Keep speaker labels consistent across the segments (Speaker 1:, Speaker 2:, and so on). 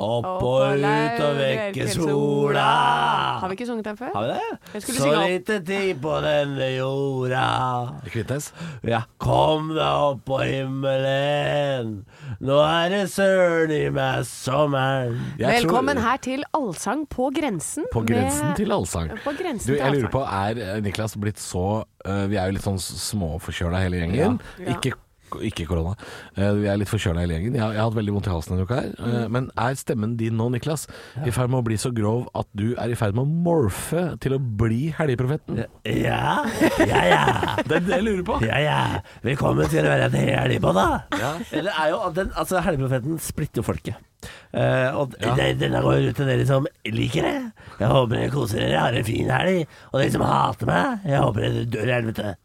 Speaker 1: Opp og ut og vekke sola.
Speaker 2: Har vi ikke sunget den før?
Speaker 1: Har vi det?
Speaker 2: Jeg skulle
Speaker 1: Så
Speaker 2: synge opp.
Speaker 1: lite tid på denne jorda.
Speaker 3: Kvintnes.
Speaker 1: Ja, kom deg opp på himmelen. Nå er det søren i meg sommeren.
Speaker 3: Jeg tror-
Speaker 2: Velkommen her til Allsang på grensen.
Speaker 3: På grensen
Speaker 2: med-
Speaker 3: til allsang.
Speaker 2: På grensen til
Speaker 3: Du, jeg lurer
Speaker 2: allsang.
Speaker 3: på, er eh, Niklas blitt så eh, Vi er jo litt sånn småforkjøla hele gjengen.
Speaker 2: Ja.
Speaker 3: Ikke, ikke korona. Eh, vi er litt forkjøla hele gjengen. Jeg, har- jeg har hatt veldig vondt i halsen denne uka her.
Speaker 2: Mm.
Speaker 3: eh, men er stemmen din nå, Niklas, i ferd med å bli så grov at du er i ferd med å morfe til å bli helgeprofeten?
Speaker 1: Ja, ja, ja.
Speaker 3: Det er det jeg lurer på.
Speaker 1: Ja, ja. Velkommen til å være en helg på da. Det er jo, den, altså, Helgeprofeten splitter jo folket. Eh, og
Speaker 3: Ja.
Speaker 1: det- denne går ut til dere som liker det. Jeg håper dere koser dere, har en fin helg. Og dere som hater meg, jeg håper dere dør i helvete.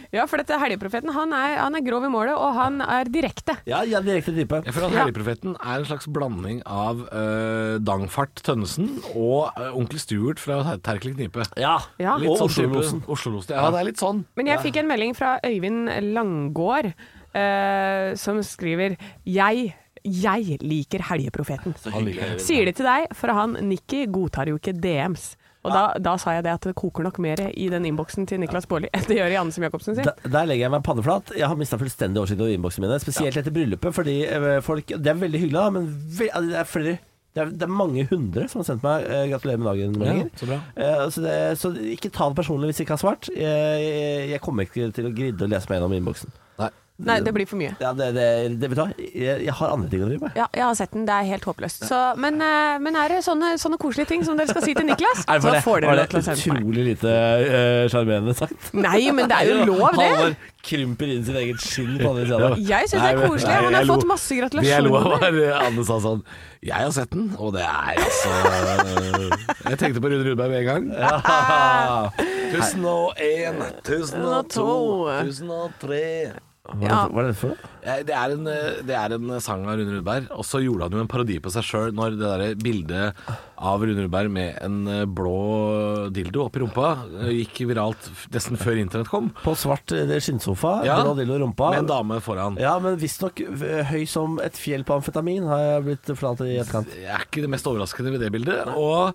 Speaker 2: Ja, for dette helgeprofeten, han er, han er grov i målet, og han er direkte.
Speaker 1: Ja, ja, direkte type.
Speaker 3: Jeg føler at Helgeprofeten er en slags blanding av eh, Dangfart Tønnesen og eh, Onkel Stuart fra Terkel Knipe.
Speaker 1: Ja.
Speaker 2: Ja.
Speaker 3: Litt
Speaker 1: Og
Speaker 3: sånn type-
Speaker 1: Oslo-losen.
Speaker 3: Oslo-losen. Ja, det er litt sånn.
Speaker 2: Men jeg fikk en melding fra Øyvind Langgård, eh, som skriver Jeg, jeg liker helgeprofeten. Sier det til deg, for han Nikki godtar jo ikke DMs. Og
Speaker 1: Ah.
Speaker 2: da, da sa jeg det at det koker nok mer i den innboksen til Niklas Baarli enn det gjør i Anne Sem Jacobsen sin.
Speaker 1: Der, der legger jeg meg panneflat. Jeg har mista fullstendig oversikt over innboksene mine. Spesielt etter bryllupet, fordi eh, folk Det er veldig hyggelig, da, men ve altså, det er flere det er, det er mange hundre som har sendt meg eh, 'gratulerer med dagen'. meldinger.
Speaker 3: så bra.
Speaker 1: Eh, så, det, så ikke ta det personlig hvis jeg ikke har svart. Jeg, jeg, jeg kommer ikke til å gridde å lese meg gjennom innboksen.
Speaker 3: Nei.
Speaker 2: Nei, det blir for mye.
Speaker 1: Ja, det, det, det, vet du hva? Jeg, jeg har andre ting å drive med.
Speaker 2: Ja, jeg har sett den. Det er helt håpløst. Så, men, eh, men er det sånne, sånne koselige ting som dere skal si til Niklas,
Speaker 1: Er
Speaker 2: så får dere
Speaker 1: var
Speaker 2: lov til å
Speaker 1: det
Speaker 2: sende meg.
Speaker 1: utrolig lite eh, sjarmerende sagt?
Speaker 2: Nei, men det er jo lov, det.
Speaker 1: Halvor krymper inn sitt eget skinn på andre sida.
Speaker 2: Jeg syns det er
Speaker 3: Nei, men-
Speaker 2: koselig.
Speaker 3: nei,
Speaker 2: Han har
Speaker 3: jeg lo-
Speaker 2: fått masse
Speaker 3: Det jeg lo av
Speaker 2: gratulasjoner.
Speaker 3: var eh, Anne sa sånn Jeg har sett den, og det er altså eh, Jeg tenkte på Rune Rudberg med en gang.
Speaker 2: Ah.
Speaker 3: Tusen og én, tusen og to, tusen og tre
Speaker 2: Ja.
Speaker 1: Hva er det for noe?
Speaker 3: Eh, det er, en, eh, det er en sang av Rune Rudberg, og så gjorde han jo en parodi på seg sjøl når det der bildet av Rune Rudberg med en eh, blå dildo oppi rumpa eh, gikk viralt f- nesten før internett kom.
Speaker 1: På svart eh, skinnsofa,
Speaker 3: Ja,
Speaker 1: blå dildo i rumpa.
Speaker 3: Med en dame foran.
Speaker 1: Ja, men visstnok v- høy som et fjell på amfetamin, har jeg blitt fortalt i etterkant.
Speaker 3: Det er ikke det mest overraskende ved det bildet. Og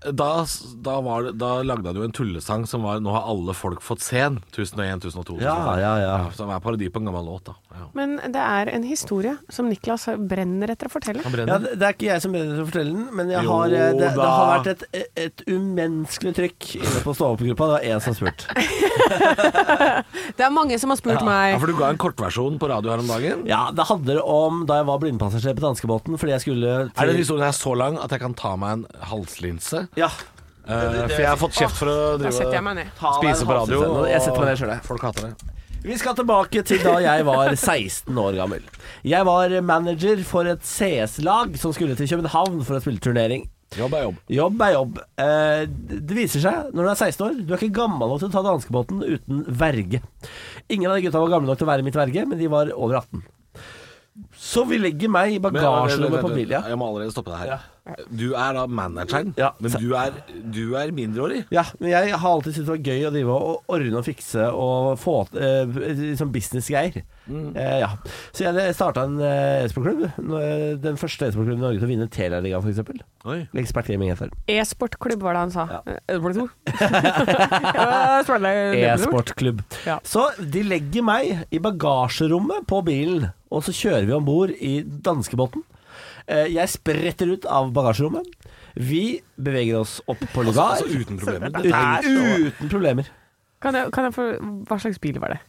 Speaker 3: da, da, var det, da lagde han jo en tullesang som var 'Nå har alle folk fått se den'. 1001, 1002.
Speaker 1: Ja, ja, ja.
Speaker 3: Som er parodi på en gammel låt, da. Ja.
Speaker 2: Men det er en historie som Niklas brenner etter å fortelle.
Speaker 3: Han
Speaker 1: Ja,
Speaker 3: brenner.
Speaker 1: det, det er ikke jeg som begynner å fortelle den, men jeg
Speaker 3: Jo
Speaker 1: har, eh, det, det
Speaker 3: da.
Speaker 1: har vært et, et umenneskelig trykk inne på stå-opp-gruppa. Det var én som spurte.
Speaker 2: Det er mange som har spurt
Speaker 3: Ja,
Speaker 2: meg.
Speaker 3: for du ga en kortversjon på radio her om dagen.
Speaker 1: Ja, det handler om da jeg var blindpassasjer på danskebåten fordi jeg skulle
Speaker 3: Er
Speaker 1: til
Speaker 3: den historien her så lang at jeg kan ta meg en halslinse?
Speaker 1: Ja.
Speaker 3: Eh, for jeg har fått kjeft for å
Speaker 2: Da setter
Speaker 3: drive
Speaker 2: jeg meg ned.
Speaker 1: Ta deg
Speaker 3: spise
Speaker 1: en
Speaker 3: på radio.
Speaker 1: halvsesong. Jeg setter meg ned
Speaker 3: sjøl, jeg. Folk hater det.
Speaker 1: Vi skal tilbake til da jeg var 16 år gammel. Jeg var manager for et CS-lag som skulle til København for å spille turnering.
Speaker 3: Jobb er jobb.
Speaker 1: Jobb er jobb. Eh, det viser seg, når du er 16 år, du er ikke gammel nok til å ta danskebåten uten verge. Ingen av de gutta var gamle nok til å være mitt verge, men de var over 18. Så vi legger meg i
Speaker 3: Men- vent,
Speaker 1: bagasjerommet
Speaker 3: vent,
Speaker 1: på
Speaker 3: vent.
Speaker 1: bilen.
Speaker 3: Jeg må allerede stoppe deg her. Du er da manageren,
Speaker 1: Ja.
Speaker 3: men du er, du er mindreårig.
Speaker 1: Ja, men jeg har alltid syntes det var gøy å drive og ordne og fikse og få eh, liksom businessgreier. Eh, ja. Så jeg starta en eh, e-sportklubb. Nå, eh, Den første e-sportklubben i Norge til å vinne Telialigaen, f.eks.
Speaker 3: Oi.
Speaker 1: Ekspertgaming heter den.
Speaker 2: E-sportklubb var det han sa. Eh, Var det to?
Speaker 1: E-sportklubb.
Speaker 2: Ja.
Speaker 1: Så de legger meg i bagasjerommet på bilen, og så kjører vi om bord i danskebåten. Eh, Jeg spretter ut av bagasjerommet. Vi beveger oss opp på lugar.
Speaker 3: Altså uten problemer. Dette er-
Speaker 1: Uten, uten problemer.
Speaker 2: Kan jeg, kan jeg få Hva slags bil var det?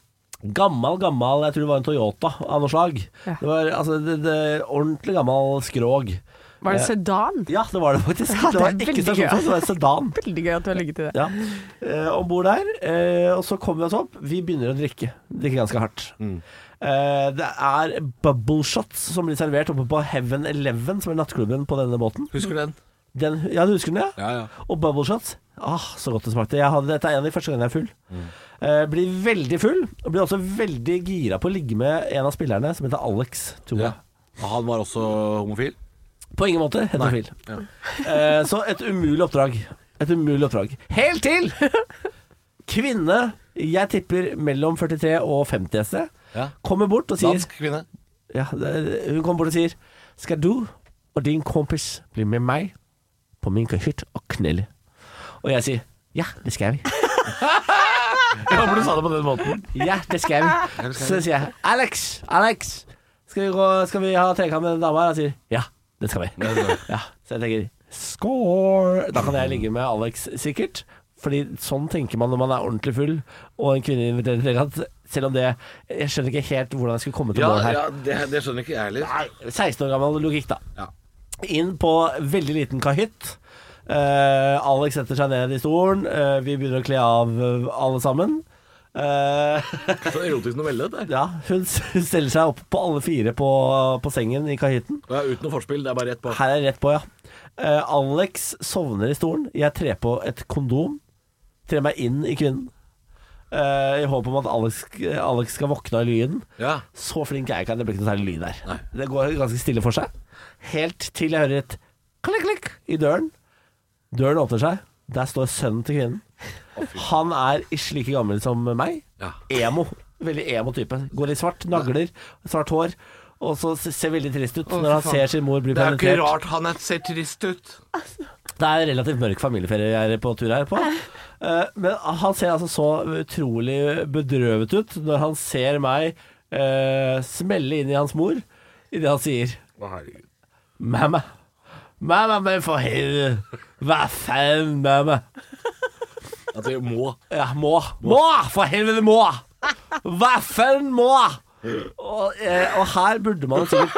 Speaker 1: Gammel, gammel, jeg tror det var en Toyota av noe slag.
Speaker 2: Ja.
Speaker 1: Det var altså, det, det, ordentlig gammel skrog.
Speaker 2: Var det
Speaker 1: Eh,
Speaker 2: sedan?
Speaker 1: Ja, det var det faktisk.
Speaker 2: Ja, det
Speaker 1: det
Speaker 2: er
Speaker 1: var ikke
Speaker 2: veldig
Speaker 1: stasjonsvogn,
Speaker 2: gøy.
Speaker 1: det var en sedan.
Speaker 2: Veldig gøy at du har ligget i det.
Speaker 1: Ja. Eh, Om bord der, eh, og så kommer vi oss opp. Vi begynner å drikke. Drikke ganske hardt.
Speaker 3: Mm.
Speaker 1: Eh, det er bubble shots som blir servert oppe på Heaven Eleven, som er nattklubben på denne båten.
Speaker 3: Husker du den?
Speaker 1: Den, ja, du husker den, ja?
Speaker 3: Ja, ja.
Speaker 1: Og bubble shots. Ah, så godt det smakte. Jeg hadde, dette er en av de første gangene jeg er full.
Speaker 3: Mm.
Speaker 1: Eh, blir veldig full, og blir også veldig gira på å ligge med en av spillerne, som heter Alex. Tror jeg.
Speaker 3: ja. Og han var også homofil?
Speaker 1: På ingen måte heterofil.
Speaker 3: Ja.
Speaker 1: Eh, så et umulig oppdrag. Et umulig oppdrag. Helt til! Kvinne, jeg tipper mellom 43 og 50 et sted,
Speaker 3: Ja.
Speaker 1: kommer bort og sier
Speaker 3: Dansk kvinne?
Speaker 1: ja, det- Hun kommer bort og sier Skal du og din kompis blir med meg på min kahytt og kneller. Og jeg sier ja, det skal vi.
Speaker 3: Jeg håper du sa det på den måten.
Speaker 1: Ja, det skal vi. Så sier jeg Alex, Alex, skal vi, gå, skal vi ha trekant med den dama? her?» Han sier ja, det skal vi. Ja, så jeg tenker score. Da kan jeg ligge med Alex sikkert. Fordi sånn tenker man når man er ordentlig full og en kvinne inviterer til trekant. Selv om det Jeg skjønner ikke helt hvordan jeg skulle komme til
Speaker 3: Ja,
Speaker 1: mål her.
Speaker 3: ja det, det skjønner ikke jeg heller.
Speaker 1: 16 år gammel logikk, da.
Speaker 3: Ja.
Speaker 1: Inn på veldig liten kahytt. Eh, Alex setter seg ned i stolen. Eh, vi begynner å kle av eh, alle sammen. Eh,
Speaker 3: Så erotisk novelle, dette.
Speaker 1: ja, hun, s- hun stiller seg opp på alle fire på, på sengen i kahytten.
Speaker 3: Ja, uten noe forspill, det er bare rett på.
Speaker 1: Her er rett på, ja. Eh, Alex sovner i stolen. Jeg trer på et kondom. Trer meg inn i kvinnen. Eh, I håp om at Alex, Alex skal våkne av lyden.
Speaker 3: Ja.
Speaker 1: Så flink er jeg ikke at det blir ikke noe særlig lyd der.
Speaker 3: Nei.
Speaker 1: Det går ganske stille for seg. Helt til jeg hører et klikk, klikk i døren. Døren åpner seg. Der står sønnen til kvinnen. Han er ikke like gammel som meg.
Speaker 3: Ja.
Speaker 1: Emo. Veldig emo type. Går i svart, nagler, svart hår. Og så s- ser veldig trist ut når han ser sin mor bli
Speaker 3: Det er ikke
Speaker 1: permittert.
Speaker 3: rart han er- ser trist ut.
Speaker 1: Det er relativt mørk familieferie jeg er på tur her på. Eh, Men han ser altså så utrolig bedrøvet ut når han ser meg eh, smelle inn i hans mor idet han sier Mamma. Mamma, men for helvete. Hva faen, mamma?
Speaker 3: At vi må.
Speaker 1: Ja, må. Må! For helvete, må! Hva faen, må! Og, eh, og her burde man jo sikkert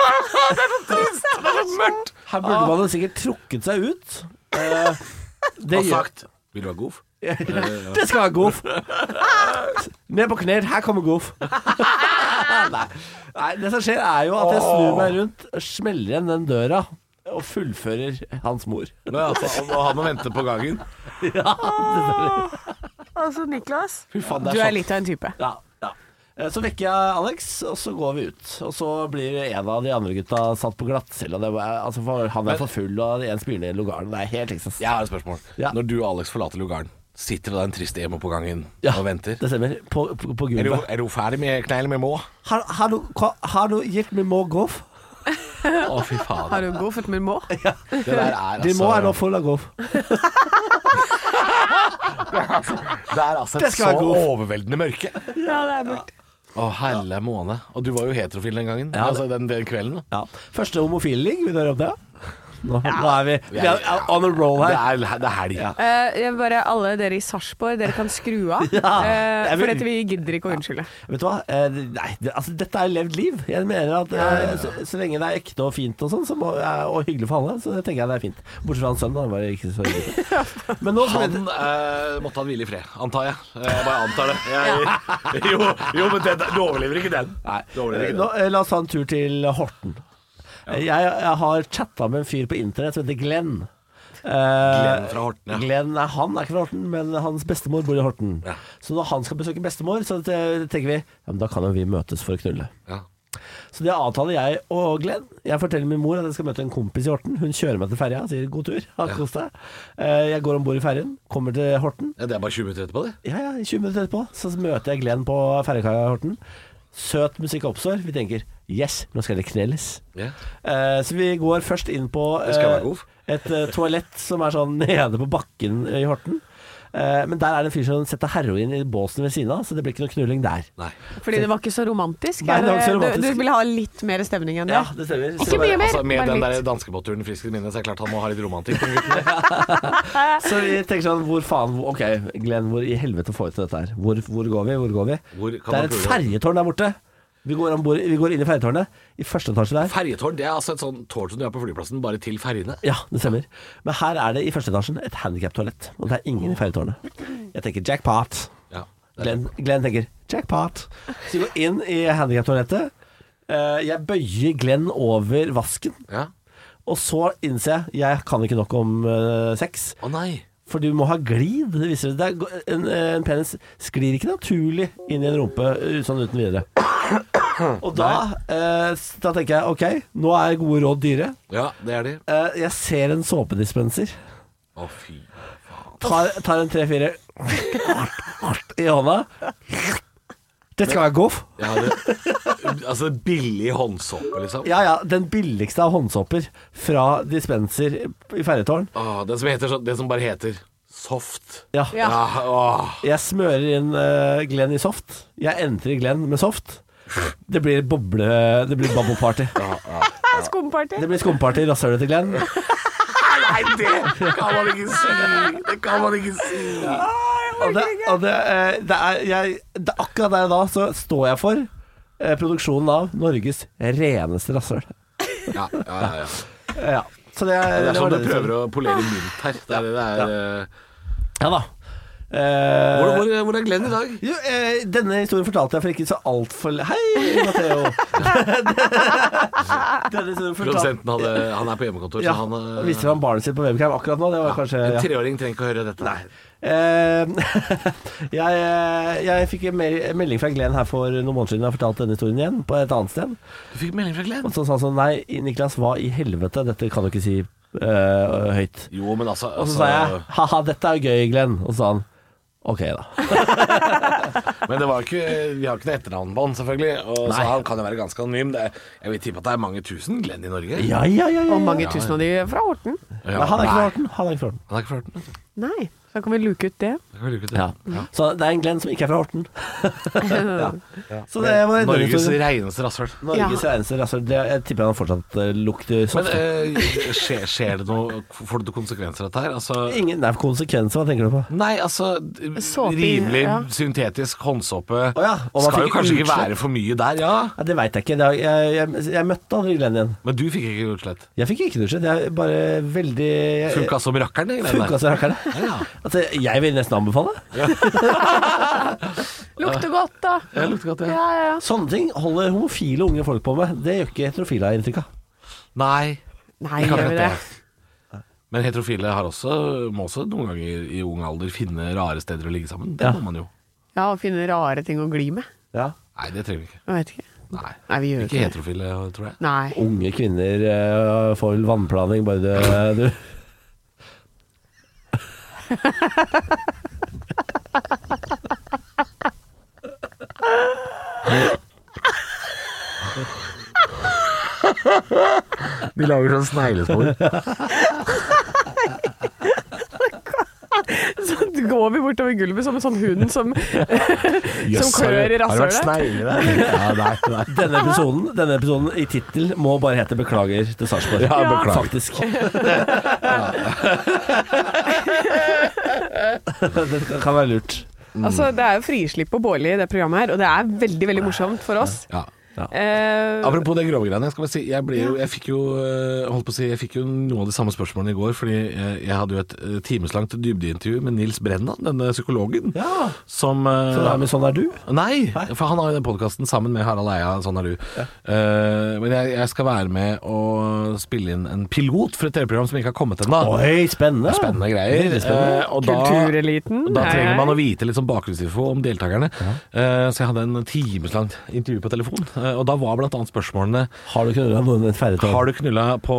Speaker 1: Her
Speaker 3: Ah.
Speaker 1: burde man jo sikkert trukket seg ut. Eh, det
Speaker 3: Og sagt Vil du ha goof?
Speaker 1: Det skal være goof. Ned på knær, her kommer goof. Nei. Nei, det som skjer er jo at jeg snur meg rundt, smeller igjen den døra og fullfører hans mor.
Speaker 3: Nå, altså, han- han må vente på gangen.
Speaker 2: Altså, Niklas,
Speaker 1: Fy faen,
Speaker 2: du
Speaker 1: det er
Speaker 2: er
Speaker 1: sånn.
Speaker 2: litt av en type.
Speaker 1: Ja, ja. Eh, Så vekker jeg Alex, og så går vi ut. Og så blir en av de andre gutta satt på glattcelle. og det var- Altså, for han er for full, og en spyr ned i lugaren. Det er helt Texas.
Speaker 3: Jeg har et spørsmål.
Speaker 1: Ja.
Speaker 3: Når du og Alex forlater lugaren, sitter det da en trist emo på gangen
Speaker 1: Ja,
Speaker 3: og venter?
Speaker 1: Det stemmer. På, på, på
Speaker 3: Er du,
Speaker 1: gulvet.
Speaker 3: er du ferdig med kneilen med må? Å,
Speaker 1: Har, har, du, har du gitt meg more goof?
Speaker 3: fy faen.
Speaker 2: Har du god født med mor?
Speaker 3: Det der er altså
Speaker 1: De må er nå full av goof.
Speaker 3: Det er altså
Speaker 1: Det
Speaker 3: et
Speaker 1: skal
Speaker 3: så
Speaker 1: være god.
Speaker 3: overveldende mørke.
Speaker 2: Ja, det er mørkt.
Speaker 3: Å, helle måne. Og du var jo heterofil den gangen.
Speaker 1: Ja,
Speaker 3: altså den, den kvelden. da.
Speaker 1: Ja. Første homofile ligg, vil du høre om det? Nå, nå er vi, vi er on a roll
Speaker 3: Det
Speaker 1: her.
Speaker 3: er, det er helg.
Speaker 1: Ja.
Speaker 2: Eh, jeg bare alle dere i Sarpsborg, dere kan skru av. Eh,
Speaker 1: jeg vil-
Speaker 2: for dette vi gidder ikke å unnskylde.
Speaker 1: Vet du hva? Eh, Nei, det, altså, dette er levd liv. Jeg mener at eh, så, så lenge det er ekte og fint og sånn, så må, eh, og hyggelig for alle, så tenker jeg det er fint. Bortsett fra han sønnen, han var ikke så hyggelig. Men nå skal
Speaker 3: Han
Speaker 1: vi
Speaker 3: eh, måtte han hvile i fred, antar jeg. Eh, Jeg bare antar det. Jeg, jo, jo, men det, du overlever ikke den.
Speaker 1: Nei,
Speaker 3: Du overlever ikke
Speaker 1: nå,
Speaker 3: den.
Speaker 1: eh, la oss ta en tur til Horten. Eh, Jeg, jeg har chatta med en fyr på internett som heter Glenn. Eh,
Speaker 3: Glenn fra Horten, ja.
Speaker 1: Glenn er, han er ikke fra Horten, men hans bestemor bor i Horten.
Speaker 3: Ja.
Speaker 1: Så når han skal besøke bestemor, så te- tenker vi ja, men da kan jo vi møtes for å knulle.
Speaker 3: Ja.
Speaker 1: Så det avtaler jeg og Glenn. Jeg forteller min mor at jeg skal møte en kompis i Horten. Hun kjører meg til ferja og sier 'god tur', ha kos deg. Eh, Jeg går om bord i ferjen, kommer til Horten.
Speaker 3: Ja, Det er bare 20 minutter etterpå, det.
Speaker 1: Ja, ja, 20 minutter etterpå så møter jeg Glenn på ferjekaia i Horten. Søt musikk oppstår. Vi tenker 'yes, nå skal det knelles'.
Speaker 3: Ja.
Speaker 1: Eh, Så vi går først inn på
Speaker 3: Det skal
Speaker 1: eh,
Speaker 3: være god.
Speaker 1: et eh, toalett som er sånn nede på bakken i Horten. Eh, Men der er det en fyr som setter heroin i båsen ved siden av, så det blir ikke noe knulling der.
Speaker 3: Nei.
Speaker 2: Fordi det var ikke så romantisk.
Speaker 1: Nei, det var ikke så
Speaker 2: Er
Speaker 1: romantisk.
Speaker 2: Du, du ville ha litt mer stemning enn det.
Speaker 1: Ja, det stemmer.
Speaker 2: Ikke mye mer,
Speaker 3: altså, med
Speaker 2: bare
Speaker 3: den
Speaker 2: litt.
Speaker 3: der danskebåtturen frisk i minne, så er det klart han må ha litt romantikk. på gutten.
Speaker 1: Så vi tenker sånn, hvor faen hvor- Ok, Glenn, hvor i helvete får vi til dette her? Hvor, hvor går vi? Hvor går vi?
Speaker 3: Hvor kan
Speaker 1: det er
Speaker 3: man
Speaker 1: et
Speaker 3: prøve?
Speaker 1: ferjetårn der borte. Vi går, ombord, vi går inn i ferjetårnet. I første etasje der.
Speaker 3: Ferjetårn det er altså et sånn tårn som du har på flyplassen, bare til ferjene.
Speaker 1: Ja, det stemmer. Men her er det i første etasjen et handikaptoalett. Og det er ingen i ferjetårnet. Jeg tenker jackpot.
Speaker 3: Ja.
Speaker 1: Glenn, Glenn tenker jackpot. Så vi går inn i handikaptoalettet. Eh, Jeg bøyer Glenn over vasken.
Speaker 3: Ja.
Speaker 1: Og så innser jeg jeg kan ikke nok om eh, sex.
Speaker 3: Å nei.
Speaker 1: For du må ha glid. Det viser det. Det er, en, eh, en penis sklir ikke naturlig inn i en rumpe uh, sånn uten videre. Og da, eh, s- da tenker jeg ok, nå er gode råd dyre.
Speaker 3: Ja, det er de.
Speaker 1: Eh, jeg ser en såpedispenser.
Speaker 3: Å fy.
Speaker 1: Tar, tar en tre-fire i hånda.
Speaker 4: Det skal jeg gå for.
Speaker 3: Jeg hadde, altså billig håndsåpe, liksom.
Speaker 1: Ja ja, den billigste av håndsåper fra dispenser i Ferjetårn.
Speaker 3: Åh, den, som heter, så- den som bare heter Soft.
Speaker 1: Ja.
Speaker 2: Ja.
Speaker 3: Ah, åh.
Speaker 1: Jeg smører inn eh, Glenn i soft. Jeg entrer Glenn med soft. Det blir boble... Det blir babbo-party.
Speaker 2: Skumparty.
Speaker 1: Det blir skumparty i rasshølet til Glenn.
Speaker 3: Nei, det kan man ikke si! Det kan man ikke si!
Speaker 1: Og det, og det, eh, det er, jeg, det er akkurat der og da så står jeg for eh, produksjonen av Norges reneste rasshøl.
Speaker 3: Ja, ja, ja, ja.
Speaker 1: Ja. Så det,
Speaker 3: Det er
Speaker 1: det
Speaker 3: som
Speaker 1: var
Speaker 3: du
Speaker 1: det som-
Speaker 3: prøver å polere mynt her. Det er, det er, eh,
Speaker 1: Ja da. Eh,
Speaker 3: hvor, hvor, hvor er Glenn i dag?
Speaker 1: jo, eh, denne historien fortalte jeg for ikke så altfor Hei, Matheo! denne historien fortalte
Speaker 3: Produsenten hadde, han er på hjemmekontor,
Speaker 1: ja,
Speaker 3: så han eh,
Speaker 1: Visste han barnet sitt på webcam akkurat nå? Det var kanskje
Speaker 3: En
Speaker 1: ja.
Speaker 3: treåring trenger ikke å høre dette.
Speaker 1: Eh, jeg, eh, jeg fikk en mel- en melding fra Glenn her for noen måneder siden. Jeg fortalte denne historien igjen, på et annet sted.
Speaker 3: Du fikk melding fra Glenn?
Speaker 1: Og så sa han sånn Nei, Niklas, hva i helvete? Dette kan du ikke si eh, høyt.
Speaker 3: Jo, men altså,
Speaker 1: Og så
Speaker 3: altså
Speaker 1: sa jeg ha-ha, dette er jo gøy, Glenn. Og så sa han OK, da.
Speaker 3: Men det var jo ikke, vi har ikke noe etternavn på han, selvfølgelig. Og så
Speaker 1: Nei.
Speaker 3: han kan jo være ganske anonym. Det, er- jeg vil tippe at det er mange tusen Glenn i Norge.
Speaker 1: Ja, ja, ja. ja, ja.
Speaker 2: Og mange tusen av de fra Horten.
Speaker 1: Nei, han er ikke
Speaker 3: Nei,
Speaker 1: fra Horten. Han er ikke fra Horten.
Speaker 3: han er ikke fra Horten. vet du.
Speaker 2: Nei, så kan vi luke ut det.
Speaker 3: Det kan vi luke ut,
Speaker 1: Ja.
Speaker 3: det. Ja.
Speaker 1: Så det er en Glenn som ikke er fra Horten. ja. Så det var
Speaker 3: Norges reneste rasshøl.
Speaker 1: Norges reneste rasshøl. altså, Det- Jeg tipper han fortsatt eh, lukter
Speaker 3: Men
Speaker 1: soft.
Speaker 3: eh, skjer, skjer det noe Får det noen konsekvenser av dette her? Altså,
Speaker 1: Ingen Nei, konsekvenser, hva tenker du på?
Speaker 3: nei, altså
Speaker 2: Såpe i-
Speaker 3: Rimelig
Speaker 2: ja.
Speaker 3: syntetisk håndsåpe
Speaker 1: Å ja, og man
Speaker 3: skal
Speaker 1: fikk
Speaker 3: jo kanskje ikke
Speaker 1: utslett.
Speaker 3: være for mye der, ja.
Speaker 1: Ja, det veit jeg ikke. Det har- Jeg, jeg, jeg møtte aldri Glenn igjen.
Speaker 3: Men du fikk ikke utslett.
Speaker 1: Jeg fikk ikke noe skjedd. Jeg er bare veldig jeg-
Speaker 3: Funka som rakkeren, det greiene
Speaker 1: Eh, Funka
Speaker 3: der.
Speaker 1: som rakkeren.
Speaker 3: Ja,
Speaker 1: Altså, jeg vil nesten anbefale.
Speaker 2: Lukter godt, da.
Speaker 3: ja, lukter godt, ja.
Speaker 2: Ja, ja, ja.
Speaker 1: Sånne ting holder homofile unge folk på med. Det gjør ikke heterofile, har jeg inntrykk av.
Speaker 3: Nei,
Speaker 2: Nei,
Speaker 3: vi kan
Speaker 2: gjør
Speaker 3: ikke
Speaker 2: vi det?
Speaker 3: Men heterofile har også, må også noen ganger i ung alder finne rare steder å ligge sammen. Det
Speaker 1: Ja.
Speaker 3: må man jo.
Speaker 2: Ja, og finne rare ting å gli med.
Speaker 1: Ja.
Speaker 3: Nei, det trenger vi ikke.
Speaker 2: Jeg vet ikke.
Speaker 3: Nei,
Speaker 2: Nei, vi gjør
Speaker 3: Ikke
Speaker 2: ikke det.
Speaker 3: heterofile, tror jeg.
Speaker 2: Nei.
Speaker 1: Unge kvinner eh, får vel vannplaning, bare du, du.
Speaker 3: De lager sånn sneglespor.
Speaker 2: Så går vi bortover gulvet som en sånn hund som, som klør i rasshølet.
Speaker 3: Ja, nei, nei.
Speaker 1: Denne episoden, denne episoden i tittel må bare hete 'Beklager til Sarpsborg'.
Speaker 3: Ja, Ja. beklager.
Speaker 1: Faktisk. det kan- kan være lurt.
Speaker 3: Mm.
Speaker 2: Altså, det er jo frislipp på Bårli i det programmet her, og det er veldig, veldig morsomt for oss.
Speaker 3: Ja.
Speaker 2: Eh,
Speaker 3: Apropos det grove greiene, jeg skal bare si Jeg, ble jo, jeg fikk jo eh, holdt på å si Jeg fikk jo noen av de samme spørsmålene i går, fordi eh, jeg hadde jo et eh, timeslangt dybdeintervju med Nils Brenna, denne psykologen,
Speaker 1: Ja.
Speaker 3: som eh,
Speaker 1: Så da, men sånn er du.
Speaker 3: Nei, for han har jo den podkasten sammen med Harald Eia, sånn er du. Eh, men jeg, jeg skal være med og spille inn en pilot for et TV-program som ikke har kommet ennå.
Speaker 1: Oi, spennende.
Speaker 3: Spennende greier.
Speaker 1: Veldig spennende.
Speaker 3: Eh, og da,
Speaker 2: Kultureliten.
Speaker 3: da
Speaker 2: Hei,
Speaker 3: trenger man
Speaker 2: hei.
Speaker 3: å vite litt sånn bakgrunnsinfo om deltakerne. Eh, så jeg hadde en timeslangt intervju på telefon, eh, og da var blant annet spørsmålene
Speaker 1: Har du knulla noen i et ferjetog?
Speaker 3: Har du knulla på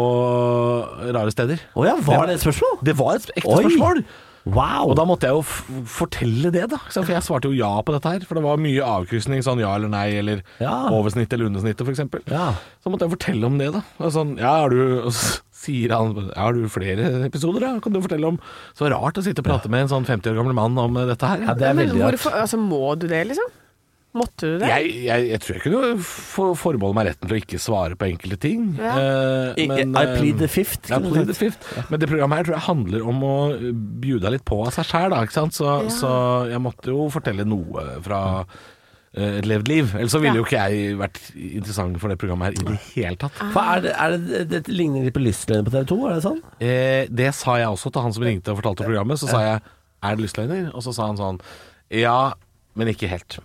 Speaker 3: rare steder?
Speaker 1: Å ja, var det et spørsmål?
Speaker 3: Det var et ekte
Speaker 1: Oi.
Speaker 3: spørsmål!
Speaker 1: Wow!
Speaker 3: Og da måtte jeg jo f fortelle det, da. ikke sant? For jeg svarte jo ja på dette her. For det var mye avkrysning, sånn ja eller nei, eller
Speaker 1: Ja.
Speaker 3: oversnitt eller undersnittet, f.eks.
Speaker 1: Ja.
Speaker 3: Så måtte jeg fortelle om det, da. Og sånn, ja, er du, og så sier han ja, har du flere episoder, da? Kan du fortelle om Så rart å sitte og prate med en sånn 50 år gammel mann om eh, dette her.
Speaker 1: ja, det er
Speaker 2: Men
Speaker 1: veldig rart.
Speaker 2: hvorfor, altså, må du det, liksom? Måtte du det?
Speaker 3: Jeg, jeg, jeg tror jeg kunne for- forbeholde meg retten til å ikke svare på enkelte ting.
Speaker 2: Ja.
Speaker 1: I,
Speaker 3: eh, men,
Speaker 1: I
Speaker 3: eh,
Speaker 1: plead the fifth.
Speaker 3: Ja,
Speaker 1: kunne du
Speaker 3: plead the
Speaker 1: sagt.
Speaker 3: fifth. Men det programmet her tror jeg handler om å bjuda litt på av seg sjæl, da. Ikke sant? Så, så jeg måtte jo fortelle noe fra eh, et levd liv. Ellers så ville
Speaker 2: Ja.
Speaker 3: jo ikke jeg vært interessant for det programmet her i det hele tatt.
Speaker 1: For er det, er det, det ligner litt på Lystløgner på TV 2, er det sånn?
Speaker 3: Eh, det sa jeg også til han som ringte og fortalte om programmet. Så sa jeg 'er det lystløgner?' Og så sa han sånn 'ja, men ikke helt'.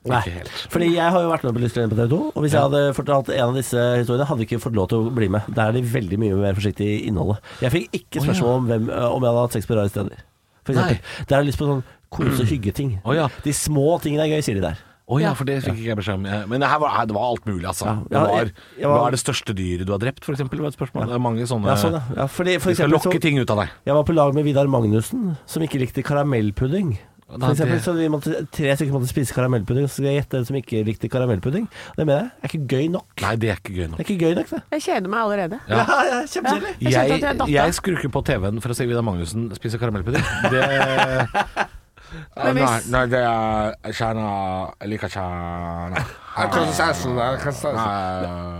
Speaker 3: Ikke helt.
Speaker 1: Fordi jeg har jo vært med på Lystløgner på TV 2, og hvis jeg hadde fortalt en av disse historiene, hadde jeg ikke fått lov til å bli med. Der er de veldig mye mer forsiktige i innholdet. Jeg fikk ikke spørsmål om, hvem, øh, om jeg hadde hatt sex på rare steder. For eksempel. Der har jeg lyst på sånn kose- og hyggeting.
Speaker 3: Å ja.
Speaker 1: De små tingene er gøy, sier de der.
Speaker 3: Å ja, for det fikk ikke jeg beskjed om. Jeg- Men det, her var, her- det var alt mulig, altså.
Speaker 1: Ja,
Speaker 3: det
Speaker 1: ja,
Speaker 3: var,
Speaker 1: jeg- jeg var-
Speaker 3: Hva er det største dyret du har drept, for eksempel? var et spørsmål. Det er mange sånne
Speaker 1: Ja, sånn, ja. ja fordi, for
Speaker 3: Vi skal
Speaker 1: eksempel,
Speaker 3: lokke
Speaker 1: så,
Speaker 3: ting ut av deg.
Speaker 1: jeg var på lag med Vidar Magnussen, som ikke likte karamellpudding. For eksempel, så vi måtte, tre stykker måtte spise karamellpudding, så skal jeg gjette den som ikke likte karamellpudding. Og det mener jeg er ikke gøy nok.
Speaker 3: Nei, det er ikke gøy
Speaker 1: Det
Speaker 3: nok.
Speaker 1: er ikke gøy nok, det.
Speaker 2: Jeg kjeder meg allerede.
Speaker 1: Ja, ja kjempekjedelig.
Speaker 2: Jeg kjente at jeg
Speaker 3: Jeg,
Speaker 2: datt av.
Speaker 3: jeg skrur ikke på TV-en for å se Vidar Magnussen spise karamellpudding. Det
Speaker 2: Men hvis-
Speaker 3: Nei, det er Kjerna Jeg liker kjerna sånn,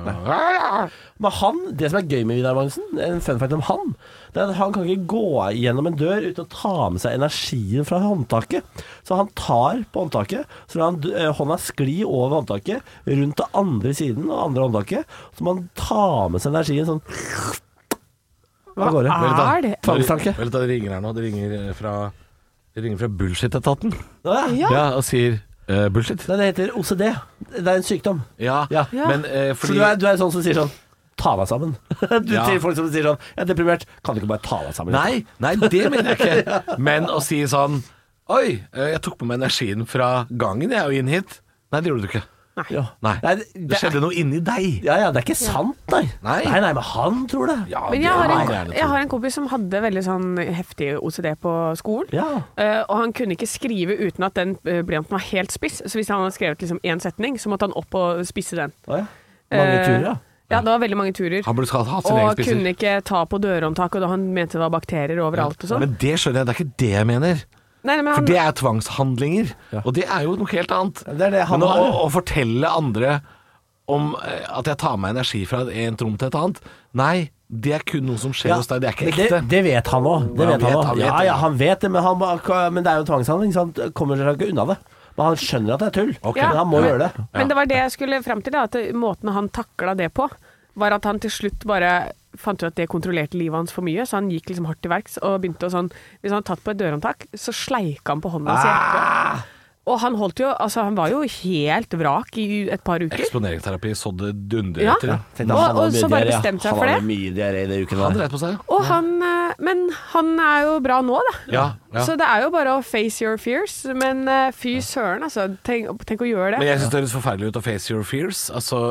Speaker 1: Men han, det som er gøy med Vidar Magnussen, en fun fact om han, det er at han kan ikke gå gjennom en dør uten å ta med seg energien fra håndtaket. Så han tar på håndtaket, så lar han d- eh, hånda skli over håndtaket, rundt til andre siden og andre håndtaket, så må han ta med seg energien sånn Hva går det?
Speaker 2: Hva er det?
Speaker 1: Tvangstanke.
Speaker 3: Vent, da, det ringer her nå. Det ringer eh, fra, det ringer fra Bullshit-etaten.
Speaker 1: Ja.
Speaker 2: Ja.
Speaker 3: Ja, og sier eh, bullshit.
Speaker 1: Nei, det heter OCD. Det er en sykdom.
Speaker 3: Ja,
Speaker 1: Ja.
Speaker 3: men eh,
Speaker 1: For
Speaker 3: fordi
Speaker 1: du er, du er sånn som sier sånn Ta deg sammen. Du
Speaker 3: Ja.
Speaker 1: til folk som sier sånn Jeg er deprimert. Kan du ikke bare ta deg sammen?
Speaker 3: Nei, nei, det mener jeg ikke. Men å si sånn Oi, eh, jeg tok med meg energien fra gangen jeg og inn hit. Nei, det gjorde du ikke.
Speaker 1: Ja.
Speaker 3: Nei,
Speaker 1: det,
Speaker 3: Det, skjedde noe inni deg.
Speaker 1: Ja, ja, det er ikke sant, nei.
Speaker 3: Nei.
Speaker 1: nei, men han tror det.
Speaker 3: Ja,
Speaker 2: Men
Speaker 3: det
Speaker 2: jeg har,
Speaker 3: er det
Speaker 2: en,
Speaker 3: gjerne,
Speaker 2: jeg
Speaker 3: tror
Speaker 2: har en kompis som hadde veldig sånn heftig OCD på skolen.
Speaker 1: Ja.
Speaker 2: Eh, og han kunne ikke skrive uten at den eh, blyanten var helt spiss. Så hvis han hadde skrevet liksom én setning, så måtte han opp og spisse den.
Speaker 1: Å, ja. Mange
Speaker 2: Eh,
Speaker 1: turer, ja.
Speaker 2: Ja, det var veldig mange turer.
Speaker 3: Han burde hatt sin egen
Speaker 2: Og
Speaker 3: spiser.
Speaker 2: kunne ikke ta på dørhåndtaket, og han mente det var bakterier overalt og sånn.
Speaker 3: Men det skjønner jeg, det er ikke det jeg mener.
Speaker 2: Nei, nei, men
Speaker 3: For
Speaker 2: han,
Speaker 3: det er tvangshandlinger, og det er jo noe helt annet.
Speaker 1: Det er det han
Speaker 3: Men å,
Speaker 1: har.
Speaker 3: å, å fortelle andre om eh, at jeg tar med energi fra et rom til et annet Nei, det er kun noe som skjer
Speaker 1: Ja,
Speaker 3: hos deg, det er ikke
Speaker 1: men
Speaker 3: ekte.
Speaker 1: Det, det vet han òg. Det
Speaker 3: Ja,
Speaker 1: vet han
Speaker 3: vet,
Speaker 1: også.
Speaker 3: han vet
Speaker 1: Ja,
Speaker 3: det.
Speaker 1: ja, han vet det, men, han, ba- men det er jo en tvangshandling, så han kommer seg ikke unna det. Men han skjønner at det er tull.
Speaker 3: Ok.
Speaker 2: Ja.
Speaker 1: Men han må
Speaker 2: Men-
Speaker 1: gjøre det.
Speaker 2: men det var det jeg skulle fram til, da, at det- måten han takla det på, var at han til slutt bare fant ut at det kontrollerte livet hans for mye, så han gikk liksom hardt til verks og begynte å sånn Hvis han hadde tatt på et dørhåndtak, så sleika han på hånda si
Speaker 3: Ah.
Speaker 2: etterpå. Og han holdt jo Altså, han var jo helt vrak i et par uker.
Speaker 3: Eksponeringsterapi så det dundrer
Speaker 2: Ja.
Speaker 3: etter.
Speaker 1: Tenkte
Speaker 2: Og-
Speaker 1: han hadde
Speaker 2: og så
Speaker 1: mye
Speaker 2: bare
Speaker 1: diaré.
Speaker 2: bestemte seg
Speaker 1: Han
Speaker 2: for
Speaker 1: hadde
Speaker 2: det.
Speaker 1: mye diaré i det uken
Speaker 3: Han
Speaker 1: der.
Speaker 3: dreit på seg,
Speaker 2: Og han eh, Men han er jo bra nå, da.
Speaker 3: ja. ja.
Speaker 2: Så det er jo bare å face your fears. Men eh, fy søren, altså. Tenk, tenk å gjøre
Speaker 3: Men
Speaker 2: det.
Speaker 3: jeg syns det høres forferdelig ut å face your fears. Altså,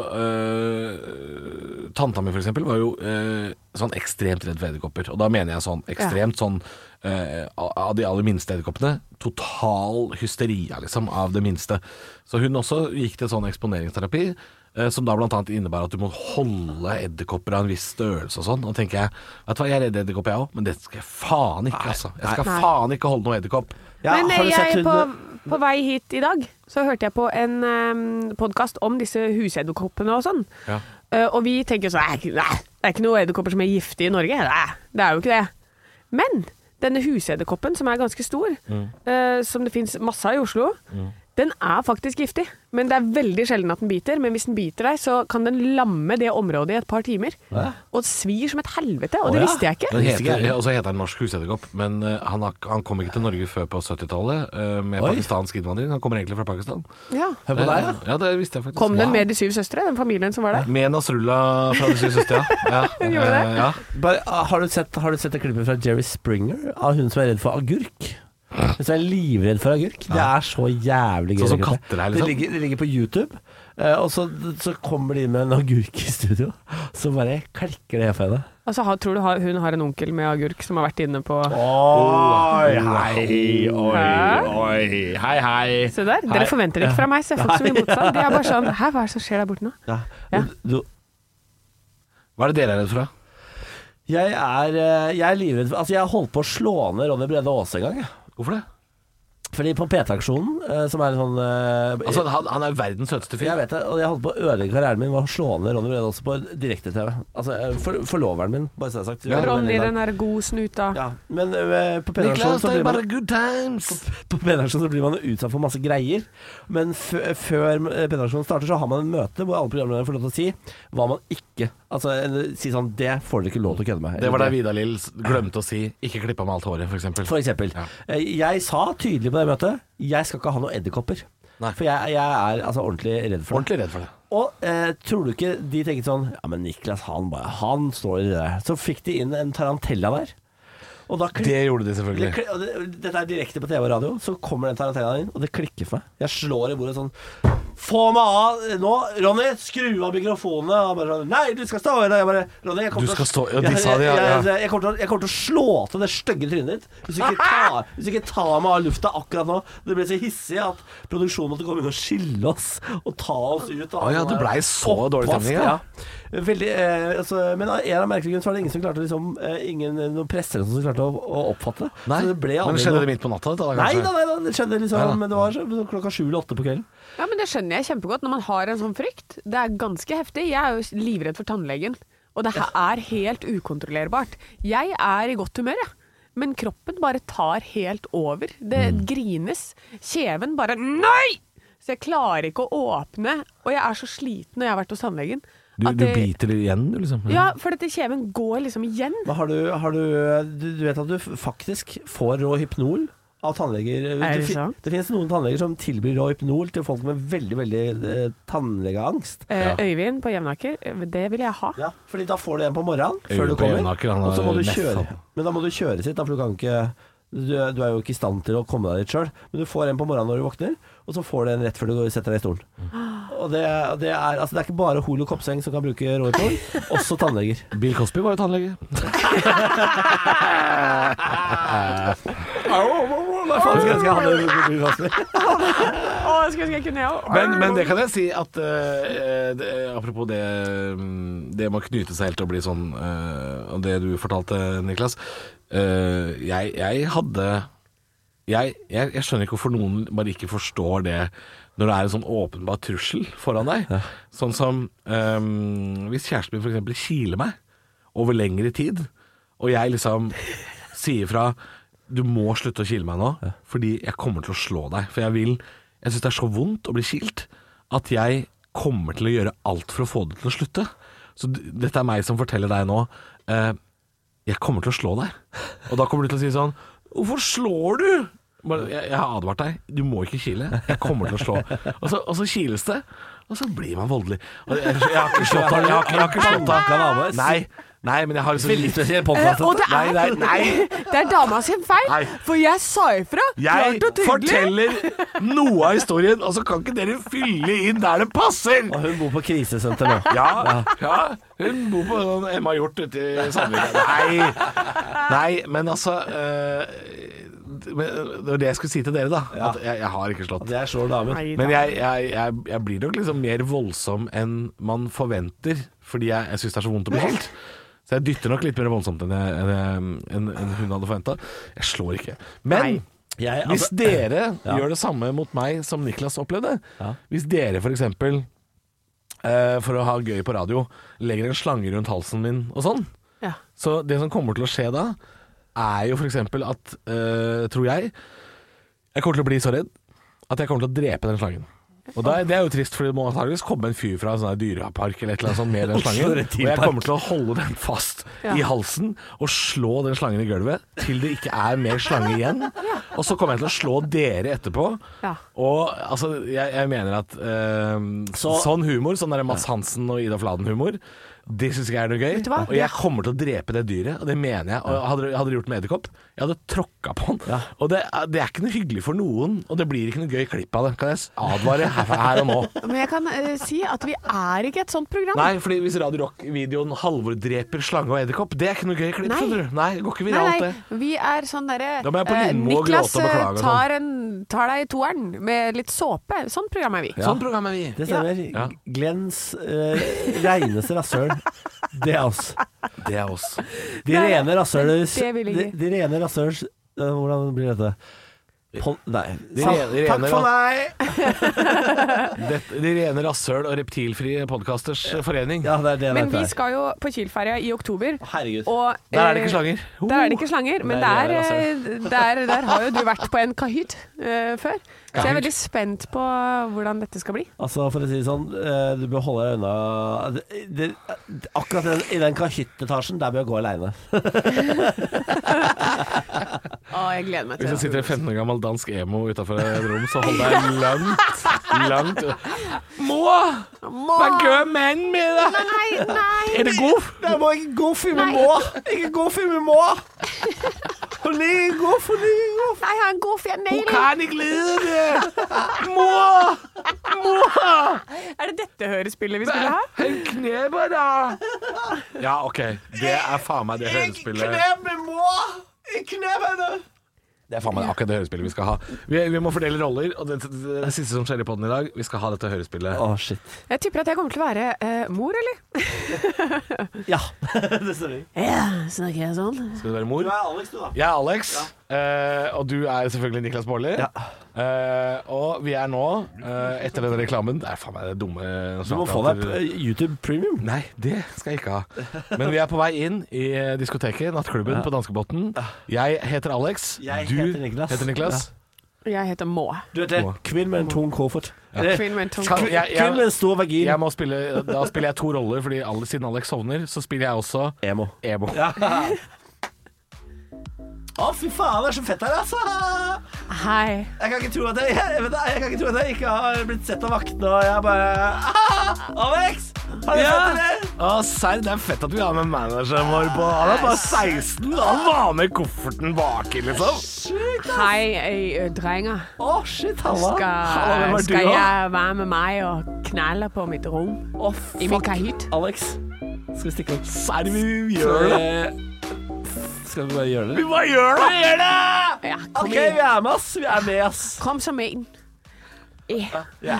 Speaker 3: øh, tanta mi for eksempel var jo øh, sånn ekstremt redd for edderkopper. Og da mener jeg sånn ekstremt sånn øh, av de aller minste edderkoppene. Total hysteria, liksom, av det minste. Så hun også gikk til sånn eksponeringsterapi. øh, Som da bl.a. innebærer at du må holde edderkopper av en viss størrelse og sånn. Og da tenker jeg vet du hva, jeg er redd edderkopp jeg òg, men det skal jeg faen ikke, altså. Jeg skal
Speaker 2: Nei.
Speaker 3: faen ikke holde noe edderkopp.
Speaker 1: Ja,
Speaker 2: men eh,
Speaker 1: har du sett
Speaker 2: jeg
Speaker 1: hun-
Speaker 2: på, på vei hit i dag, så hørte jeg på en um, podkast om disse husedderkoppene og sånn.
Speaker 3: Ja.
Speaker 2: Eh, og vi tenker jo sånn nei, nei, det er ikke noen edderkopper som er giftige i Norge. Nei, det er jo ikke det. Men denne husedderkoppen, som er ganske stor,
Speaker 1: Mm.
Speaker 2: eh, som det fins masse av i Oslo, den er faktisk giftig. Men det er veldig sjelden at den biter. Men hvis den biter deg, så kan den lamme det området i et par timer. Og svir som et helvete, og
Speaker 1: Å
Speaker 2: det
Speaker 1: ja.
Speaker 2: visste jeg ikke.
Speaker 3: Den
Speaker 1: Visste ikke
Speaker 3: heter,
Speaker 1: jeg.
Speaker 3: ja, og så heter han Norsk husedderkopp, men eh, han, har- han kom ikke til Norge før på 70-tallet eh, med
Speaker 1: Oi.
Speaker 3: pakistansk innvandring. Han kommer egentlig fra Pakistan.
Speaker 2: Ja.
Speaker 1: Hør på deg, ja.
Speaker 3: Eh, det visste jeg faktisk.
Speaker 2: Kom den
Speaker 3: Wow.
Speaker 2: med De syv søstre, den familien som var der?
Speaker 3: Med Nasrullah fra De syv søstre, ja. ja.
Speaker 2: Gjorde det?
Speaker 3: Eh, ja.
Speaker 1: Bare, ah, har, du sett, har du sett det klippet fra Jerry Springer av hun som er redd for agurk? Hun som er livredd for agurk. Det er så jævlig gøy.
Speaker 3: Sånn som
Speaker 1: det klippet.
Speaker 3: katter er, liksom.
Speaker 1: det, ligger, det ligger på YouTube, eh, og så, så kommer de med en agurk i studio. Så bare klikker det for henne.
Speaker 2: Altså, ha- tror du ha- hun har en onkel med agurk som har vært inne på
Speaker 1: Oi, hei, oi,
Speaker 2: Hæ?
Speaker 1: oi. Hei, hei.
Speaker 2: Se der, dere
Speaker 1: Nei.
Speaker 2: forventer det ikke fra meg, så jeg får ikke så mye motstand. De er bare sånn Hæ, hva er det som skjer der borte nå?
Speaker 1: Ja.
Speaker 2: Ja.
Speaker 1: Du,
Speaker 3: Hva er det dere er redd for, da?
Speaker 1: jeg er, eh, jeg er livredd for Altså, jeg holdt på å slå ned Ronny Brede Aase en gang. jeg.
Speaker 3: Hvorfor det?
Speaker 1: Fordi på PT-aksjonen, eh, som er en sånn eh,
Speaker 3: Altså, han, han er verdens søteste
Speaker 1: Jeg
Speaker 3: fyr.
Speaker 1: vet det, og jeg holdt på å ødelegge karrieren min ved å slå ned Ronny Brede også på direkte-TV. Altså, eh, for, forloveren min, bare så det er sagt.
Speaker 3: Ja,
Speaker 2: Ronny, den er god snuta.
Speaker 1: Ja, men eh, på P-aksjonen
Speaker 3: Niklas,
Speaker 1: så
Speaker 3: det
Speaker 1: blir
Speaker 3: er bare
Speaker 1: man
Speaker 3: good times!
Speaker 1: på P-aksjonen så blir man utsatt for masse greier, men f før eh, P-aksjonen starter, så har man en møte hvor alle programlederne får lov til å si hva man ikke Altså eh, si sånn Det får dere ikke lov til å kødde med.
Speaker 3: Det var der Vidar-Lill s- glemte å si 'ikke klipp av meg alt håret', f.eks.
Speaker 1: For eksempel.
Speaker 3: Ja.
Speaker 1: Eh, Jeg sa tydelig på det møtet Jeg skal ikke ha noen edderkopper.
Speaker 3: Nei.
Speaker 1: For jeg, jeg er altså ordentlig redd for det.
Speaker 3: Ordentlig redd for det.
Speaker 1: Og eh, tror du ikke de tenkte sånn Ja, men Niklas, han bare Han står i det der. Så fikk de inn en tarantella der. Og da klik-
Speaker 3: Det gjorde de
Speaker 1: det
Speaker 3: selvfølgelig.
Speaker 1: kli- og det- Dette er direkte på TV og radio. Så kommer den tarantellaen inn, og det klikker for meg. Jeg slår i bordet sånn Få meg av nå! Ronny, skru av mikrofonene! Han bare sånn Nei, du skal stå her! Jeg bare Ronny, jeg
Speaker 3: Du
Speaker 1: kommer til å-
Speaker 3: skal stå- ja, de sa det, ja,
Speaker 1: Jeg, jeg,
Speaker 3: ja.
Speaker 1: jeg, kommer til å- jeg kommer til å slå til det stygge trynet ditt hvis du ikke tar, hvis du ikke tar meg av lufta akkurat nå. Det ble så hissig at produksjonen måtte komme inn og skille oss og ta oss ut.
Speaker 3: Å ja, det blei så dårlig
Speaker 1: Oppvask,
Speaker 3: stemning, ja.
Speaker 1: Veldig, eh, altså, men av en eller annen merkelig grunn så var det ingen som klarte liksom, eh, ingen, noen presser som klarte å, å oppfatte det.
Speaker 3: Nei,
Speaker 1: så det ble
Speaker 3: men
Speaker 1: aldri
Speaker 3: skjedde
Speaker 1: noe-
Speaker 3: det midt på natta? Da,
Speaker 1: Nei
Speaker 3: kanskje?
Speaker 1: da, nei da, det skjedde liksom,
Speaker 3: Ja.
Speaker 1: men det var så, klokka sju eller åtte på kvelden.
Speaker 2: Ja, men Det skjønner jeg kjempegodt når man har en sånn frykt. Det er ganske heftig. Jeg er jo livredd for tannlegen, og det her er helt ukontrollerbart. Jeg er i godt humør, jeg. Men kroppen bare tar helt over. Det grines. Kjeven bare Nei! Så jeg klarer ikke å åpne, og jeg er så sliten når jeg har vært hos tannlegen.
Speaker 3: Du,
Speaker 2: at
Speaker 3: du
Speaker 2: det-
Speaker 3: biter igjen, du, liksom?
Speaker 2: Ja, for dette kjeven går liksom igjen.
Speaker 1: Men har du, har du, du, du vet at du f- faktisk får rå hypnol av tannleger.
Speaker 2: Er det
Speaker 1: fi-
Speaker 2: sant?
Speaker 1: det finnes noen tannleger som tilbyr rå hypnol til folk med veldig, veldig eh, tannlegeangst.
Speaker 2: Eh, Øyvind på Jevnaker, eh, det vil jeg ha.
Speaker 1: Ja, fordi da får du en på morgenen før
Speaker 3: Øyvind
Speaker 1: du
Speaker 3: på
Speaker 1: kommer,
Speaker 3: Jevnaker, han
Speaker 1: og så må
Speaker 3: er
Speaker 1: du
Speaker 3: mest
Speaker 1: kjøre.
Speaker 3: sånn.
Speaker 1: Men da må du kjøre sitt, da, for du kan ikke du, du er jo ikke i stand til å komme deg dit sjøl, men du får en på morgenen når du våkner, og så får du en rett før du går- setter deg i stolen. Og det, det, er, altså, det er ikke bare Holo Kopseng som kan bruke rå hypnol, også tannleger.
Speaker 3: Bill Cosby var jo tannlege.
Speaker 1: Hva faen skal jeg skal ha det med Cosby?
Speaker 2: Å, jeg skulle ønske jeg kunne, jeg òg.
Speaker 3: Men, men det kan jeg si at eh, det, Apropos det mm, Det med å knyte seg helt til å bli sånn eh, Og det du fortalte, Niklas eh, jeg, jeg hadde jeg, jeg, jeg skjønner ikke hvorfor noen bare ikke forstår det når det er en sånn åpenbar trussel foran deg. Sånn som eh, hvis kjæresten min f.eks. kiler meg over lengre tid, og jeg liksom sier fra Du må slutte å kile meg nå, fordi jeg kommer til å slå deg. For jeg vil Jeg syns det er så vondt å bli kilt at jeg kommer til å gjøre alt for å få det til å slutte. Så d- dette er meg som forteller deg nå eh, jeg kommer til å slå deg. Og da kommer du til å si sånn Hvorfor slår du? Bare, jeg, jeg har advart deg. Du må ikke kile. Jeg kommer til å slå. Og så, og så kiles det. Og så blir man voldelig. Og jeg, jeg har ikke slått av. Jeg har ikke, jeg har ikke slått av. Nei, nei, men jeg har liksom
Speaker 1: Veldig spesiell
Speaker 2: Eh,
Speaker 1: podcast,
Speaker 2: og det
Speaker 1: dette.
Speaker 2: er,
Speaker 3: Nei, nei, nei.
Speaker 2: det er dama sin feil,
Speaker 3: Nei.
Speaker 2: for jeg sa ifra.
Speaker 3: Jeg
Speaker 2: klart og tydelig.
Speaker 3: forteller noe av historien, og så kan ikke dere fylle inn der det passer.
Speaker 1: Og hun bor på krisesenter nå.
Speaker 3: Ja, ja. Hun bor på sånn Emma Hjort ute i Sandvika. Nei. Nei, men altså eh, Det det var det jeg skulle si til dere, da. At jeg, jeg har ikke slått.
Speaker 1: Det er slår damen.
Speaker 2: Nei da.
Speaker 3: Men jeg, jeg, jeg, jeg blir nok liksom mer voldsom enn man forventer, fordi jeg, jeg syns det er så vondt å bli skilt. Så jeg dytter nok litt mer voldsomt enn, jeg, enn, jeg- enn, enn hun hadde forventa. Jeg slår ikke. Men
Speaker 2: Nei.
Speaker 1: Jeg,
Speaker 3: hvis
Speaker 1: altså,
Speaker 3: dere
Speaker 1: Ja.
Speaker 3: gjør det samme mot meg som Niklas opplevde
Speaker 1: Ja.
Speaker 3: Hvis dere for eksempel eh, For å ha gøy på radio Legger en slange rundt halsen min og sånn
Speaker 2: Ja.
Speaker 3: Så det som kommer til å skje da Er jo for eksempel at eh, Tror jeg Jeg kommer til å bli så redd At jeg kommer til å drepe den slangen og da, det er jo trist, for det må antageligvis komme en fyr fra en sånn her dyrepark eller et eller annet sånt med den
Speaker 1: Oslo
Speaker 3: slangen. Og
Speaker 1: Reptilpark.
Speaker 3: jeg kommer til å holde den fast i halsen og slå den slangen i gulvet til det ikke er mer slange igjen. Og så kommer jeg til å slå dere etterpå.
Speaker 2: Ja.
Speaker 3: Og altså, jeg, jeg mener at eh,
Speaker 1: Så-
Speaker 3: sånn humor, sånn der Mads Hansen og Ida Fladen-humor, det syns jeg er noe gøy.
Speaker 2: du hva?
Speaker 3: Og jeg kommer til å drepe det dyret, og det mener jeg. Og hadde, hadde det gjort med edderkopp, jeg hadde tråkka på den.
Speaker 1: Ja.
Speaker 3: Og det, er- det er ikke noe hyggelig for noen, og det blir ikke noe gøy klipp av det. Kan jeg s- advare her, her og nå?
Speaker 2: Men jeg kan eh, si at vi er ikke et sånt program.
Speaker 3: Nei, fordi hvis Radio Rock-videoen 'Halvor dreper slange og edderkopp', det er ikke noe gøy klipp,
Speaker 2: Nei.
Speaker 3: skjønner du. Nei, det går ikke
Speaker 2: Nei,
Speaker 3: viralt,
Speaker 2: nei,
Speaker 3: det.
Speaker 2: vi er sånn derre
Speaker 3: Da må jeg på
Speaker 2: eh,
Speaker 3: Lindmo og
Speaker 2: Niklas
Speaker 3: gråte og beklage og sånn.
Speaker 2: eh, tar, en, tar deg i toeren med litt såpe. Sånn program er vi.
Speaker 3: Sånn program er vi.
Speaker 1: det stemmer.
Speaker 3: Ja.
Speaker 1: Glens eh, reineste rasshøl. Det er oss.
Speaker 3: Det er oss.
Speaker 1: De
Speaker 2: Nei,
Speaker 1: rene rasshølers
Speaker 2: det vil jeg
Speaker 1: de,
Speaker 2: ikke.
Speaker 1: de rene rasshølers eh, Hvordan blir dette? Pon... Nei.
Speaker 3: De
Speaker 1: Sa-
Speaker 3: rene-
Speaker 1: Takk
Speaker 3: rene-
Speaker 1: for meg!
Speaker 3: Det, de rene rasshøl og reptilfrie podcasters forening.
Speaker 1: Ja, det er det
Speaker 2: Men
Speaker 1: dette
Speaker 2: vi
Speaker 1: er.
Speaker 2: skal jo på Kiel-ferja i oktober.
Speaker 1: Herregud.
Speaker 2: Og,
Speaker 3: Der er det
Speaker 2: eh,
Speaker 3: ikke slanger.
Speaker 2: Der er det ikke slanger, men
Speaker 1: Det altså. er
Speaker 2: der, eh, der, der har jo du vært på en kahyt eh, før. Så jeg er
Speaker 3: Kahyt.
Speaker 2: veldig spent på hvordan dette skal bli.
Speaker 1: Altså, for å si det sånn, eh, du bør holde deg unna det, det, Akkurat den, i den kahyttetasjen, der bør jeg gå aleine.
Speaker 2: Å, jeg gleder meg
Speaker 3: Hvis
Speaker 2: til
Speaker 3: det
Speaker 2: det.
Speaker 3: sitter en 15 år gammel dansk emo utafor et rom, så hold deg langt, langt Må!
Speaker 2: Må-
Speaker 3: Det er gøy menn med det!
Speaker 2: Nei, nei!
Speaker 3: Er det goff?
Speaker 1: Det må ikke goff i min må! Ikke goff i min må! Hun ligger goff, hun ligger goff.
Speaker 2: Nei, han går for jeg
Speaker 3: Hun kan ikke lide det! Mor! Mor!
Speaker 2: Er det dette hørespillet vi skulle ha?
Speaker 3: En knebe, da! Ja, OK. Det er faen meg det hørespillet. Det er faen meg akkurat det hørespillet vi skal ha. Vi, vi må fordele roller, og det, det, det siste som skjer i poden i dag, vi skal ha dette hørespillet.
Speaker 1: Å, shit.
Speaker 2: Jeg tipper at jeg kommer til å være eh, mor, eller?
Speaker 1: Ja, det stemmer.
Speaker 2: Ja, snakker jeg sånn?
Speaker 3: Skal du være mor?
Speaker 1: Alex, du, da.
Speaker 3: Jeg er Alex, eh, og du er selvfølgelig Niklas Baarli.
Speaker 1: Ja.
Speaker 3: Eh, og vi er nå, eh, etter denne reklamen Det er faen meg det dumme
Speaker 1: Du må få deg eh, YouTube Premium.
Speaker 3: Nei, det skal jeg ikke ha. Men vi er på vei inn i eh, diskoteket, nattklubben på Danskebotn. Jeg heter Alex.
Speaker 1: Jeg
Speaker 3: du
Speaker 1: heter Niklas.
Speaker 3: heter Niklas.
Speaker 2: Jeg heter Må.
Speaker 1: Du vet det, Kvinn med en tung koffert. Ja.
Speaker 2: Queen went home.
Speaker 3: Kan- jeg- jeg-
Speaker 1: Kvinn Eh, med en stor vagin.
Speaker 3: Jeg må spille, da spiller jeg to roller, Fordi alle- siden Alex sovner, så spiller jeg også
Speaker 1: Emo.
Speaker 3: Ebo.
Speaker 1: Å, fy faen, det er så fett her, altså!
Speaker 2: Hei.
Speaker 1: Jeg kan ikke tro at jeg, jeg, vet det, jeg, kan ikke, tro at jeg ikke har blitt sett av vaktene, og jeg bare ah, Alex! Har du
Speaker 3: Ja.
Speaker 1: sett det?
Speaker 3: Å, serr, det er fett at vi har med manageren vår på. Han er bare 16, og han var med kofferten baki, liksom.
Speaker 2: Hei, eh, drenger.
Speaker 1: altså. Å, shit, halla. Halla, hvem er
Speaker 2: Skal,
Speaker 1: du,
Speaker 2: skal
Speaker 1: da?
Speaker 2: jeg være med meg og knalle på mitt rom?
Speaker 1: Å,
Speaker 2: I min
Speaker 1: fuck.
Speaker 2: kahytt?
Speaker 1: Alex, skal vi stikke opp?
Speaker 3: Serr, vi gjør det.
Speaker 1: Skal vi bare gjøre
Speaker 3: eh, Vi bare gjør det.
Speaker 1: Gjør det!
Speaker 2: Ja, kom
Speaker 1: OK,
Speaker 2: igjen.
Speaker 1: vi er med, ass. Vi er med, ass.
Speaker 2: Kom som en. Ja.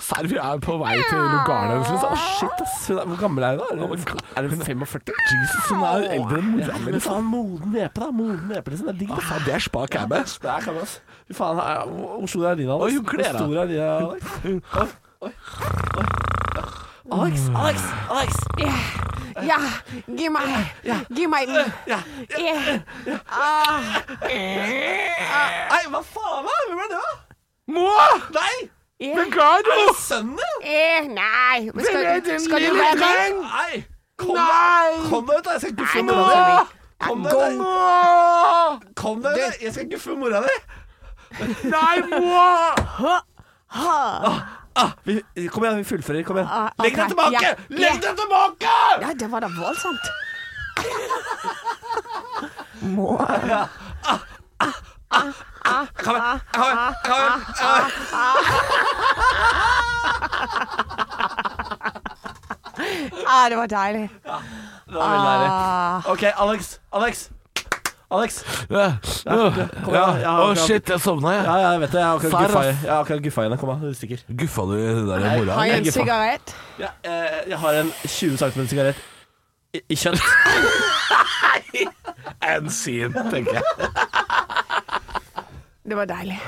Speaker 3: Serr, vi er på vei til lugaren hennes,
Speaker 1: Å,
Speaker 3: liksom.
Speaker 1: shit, ass. Hun er- Hvor gammel er hun, da? Er hun 45? Jesus, hun er eldre enn mora mi. Faen, moden nepe, da. Moden nepe, liksom. Det er digg, da.
Speaker 3: Faen, det er spa cabbe.
Speaker 1: Det er gammel, ass. Fy faen, er- hvor hvor stor er din, Alex?
Speaker 3: Oi, hun kler
Speaker 1: Hvor stor er din, Alex? Oi, oi, oi. Alex, Alex, Alex!
Speaker 2: Ja. ja. Gi meg. Gi meg den. Ja. Ah.
Speaker 1: Nei, hva faen? hva? Hvem er det, da?
Speaker 3: Må!
Speaker 1: Nei!
Speaker 2: Ja.
Speaker 1: Er det sønnen din?
Speaker 2: Eh, Nei. Men
Speaker 3: Hvem er den
Speaker 2: Skal, skal du
Speaker 3: lille
Speaker 2: være med?
Speaker 3: dreng?
Speaker 1: Nei! Kom
Speaker 3: Nei!
Speaker 1: deg kom deg ut, da! Jeg skal guffe
Speaker 2: Nei, nå
Speaker 1: mora
Speaker 2: må
Speaker 1: di!
Speaker 2: vi-
Speaker 1: Kom
Speaker 2: Ja,
Speaker 1: deg
Speaker 2: gå.
Speaker 1: ut! da. Kom deg ut! da. Jeg skal guffe mora di!
Speaker 3: Nei, må!
Speaker 1: Ah, vi, kom igjen, vi fullfører. Kom igjen.
Speaker 2: Ah,
Speaker 1: Legg
Speaker 2: ok.
Speaker 1: deg tilbake!
Speaker 2: Ja, ja.
Speaker 1: Legg deg tilbake!
Speaker 2: Ja, det var da voldsomt.
Speaker 1: Jeg kommer, jeg kommer, jeg kommer, jeg kommer.
Speaker 2: Ah, det var Ah. deilig.
Speaker 1: Det var veldig deilig. OK, Alex. Alex. Alex. kom
Speaker 3: Ja,
Speaker 1: igjen, ja,
Speaker 3: Å,
Speaker 1: akkurat.
Speaker 3: shit, jeg sovna,
Speaker 1: Ja,
Speaker 3: jeg.
Speaker 1: ja, jeg vet det. Jeg har akkurat
Speaker 3: Serr,
Speaker 1: guffa,
Speaker 3: ass.
Speaker 1: i- jeg har akkurat guffa i henne. Kom an, du stikker.
Speaker 3: Guffa du den der mora?
Speaker 2: Har jeg en
Speaker 1: Jeg er faen-
Speaker 2: sigarett?
Speaker 1: Ja, eh, jeg har en 20 cm sigarett i, i kjøtt.
Speaker 3: En sin, tenker jeg.
Speaker 2: Det var deilig.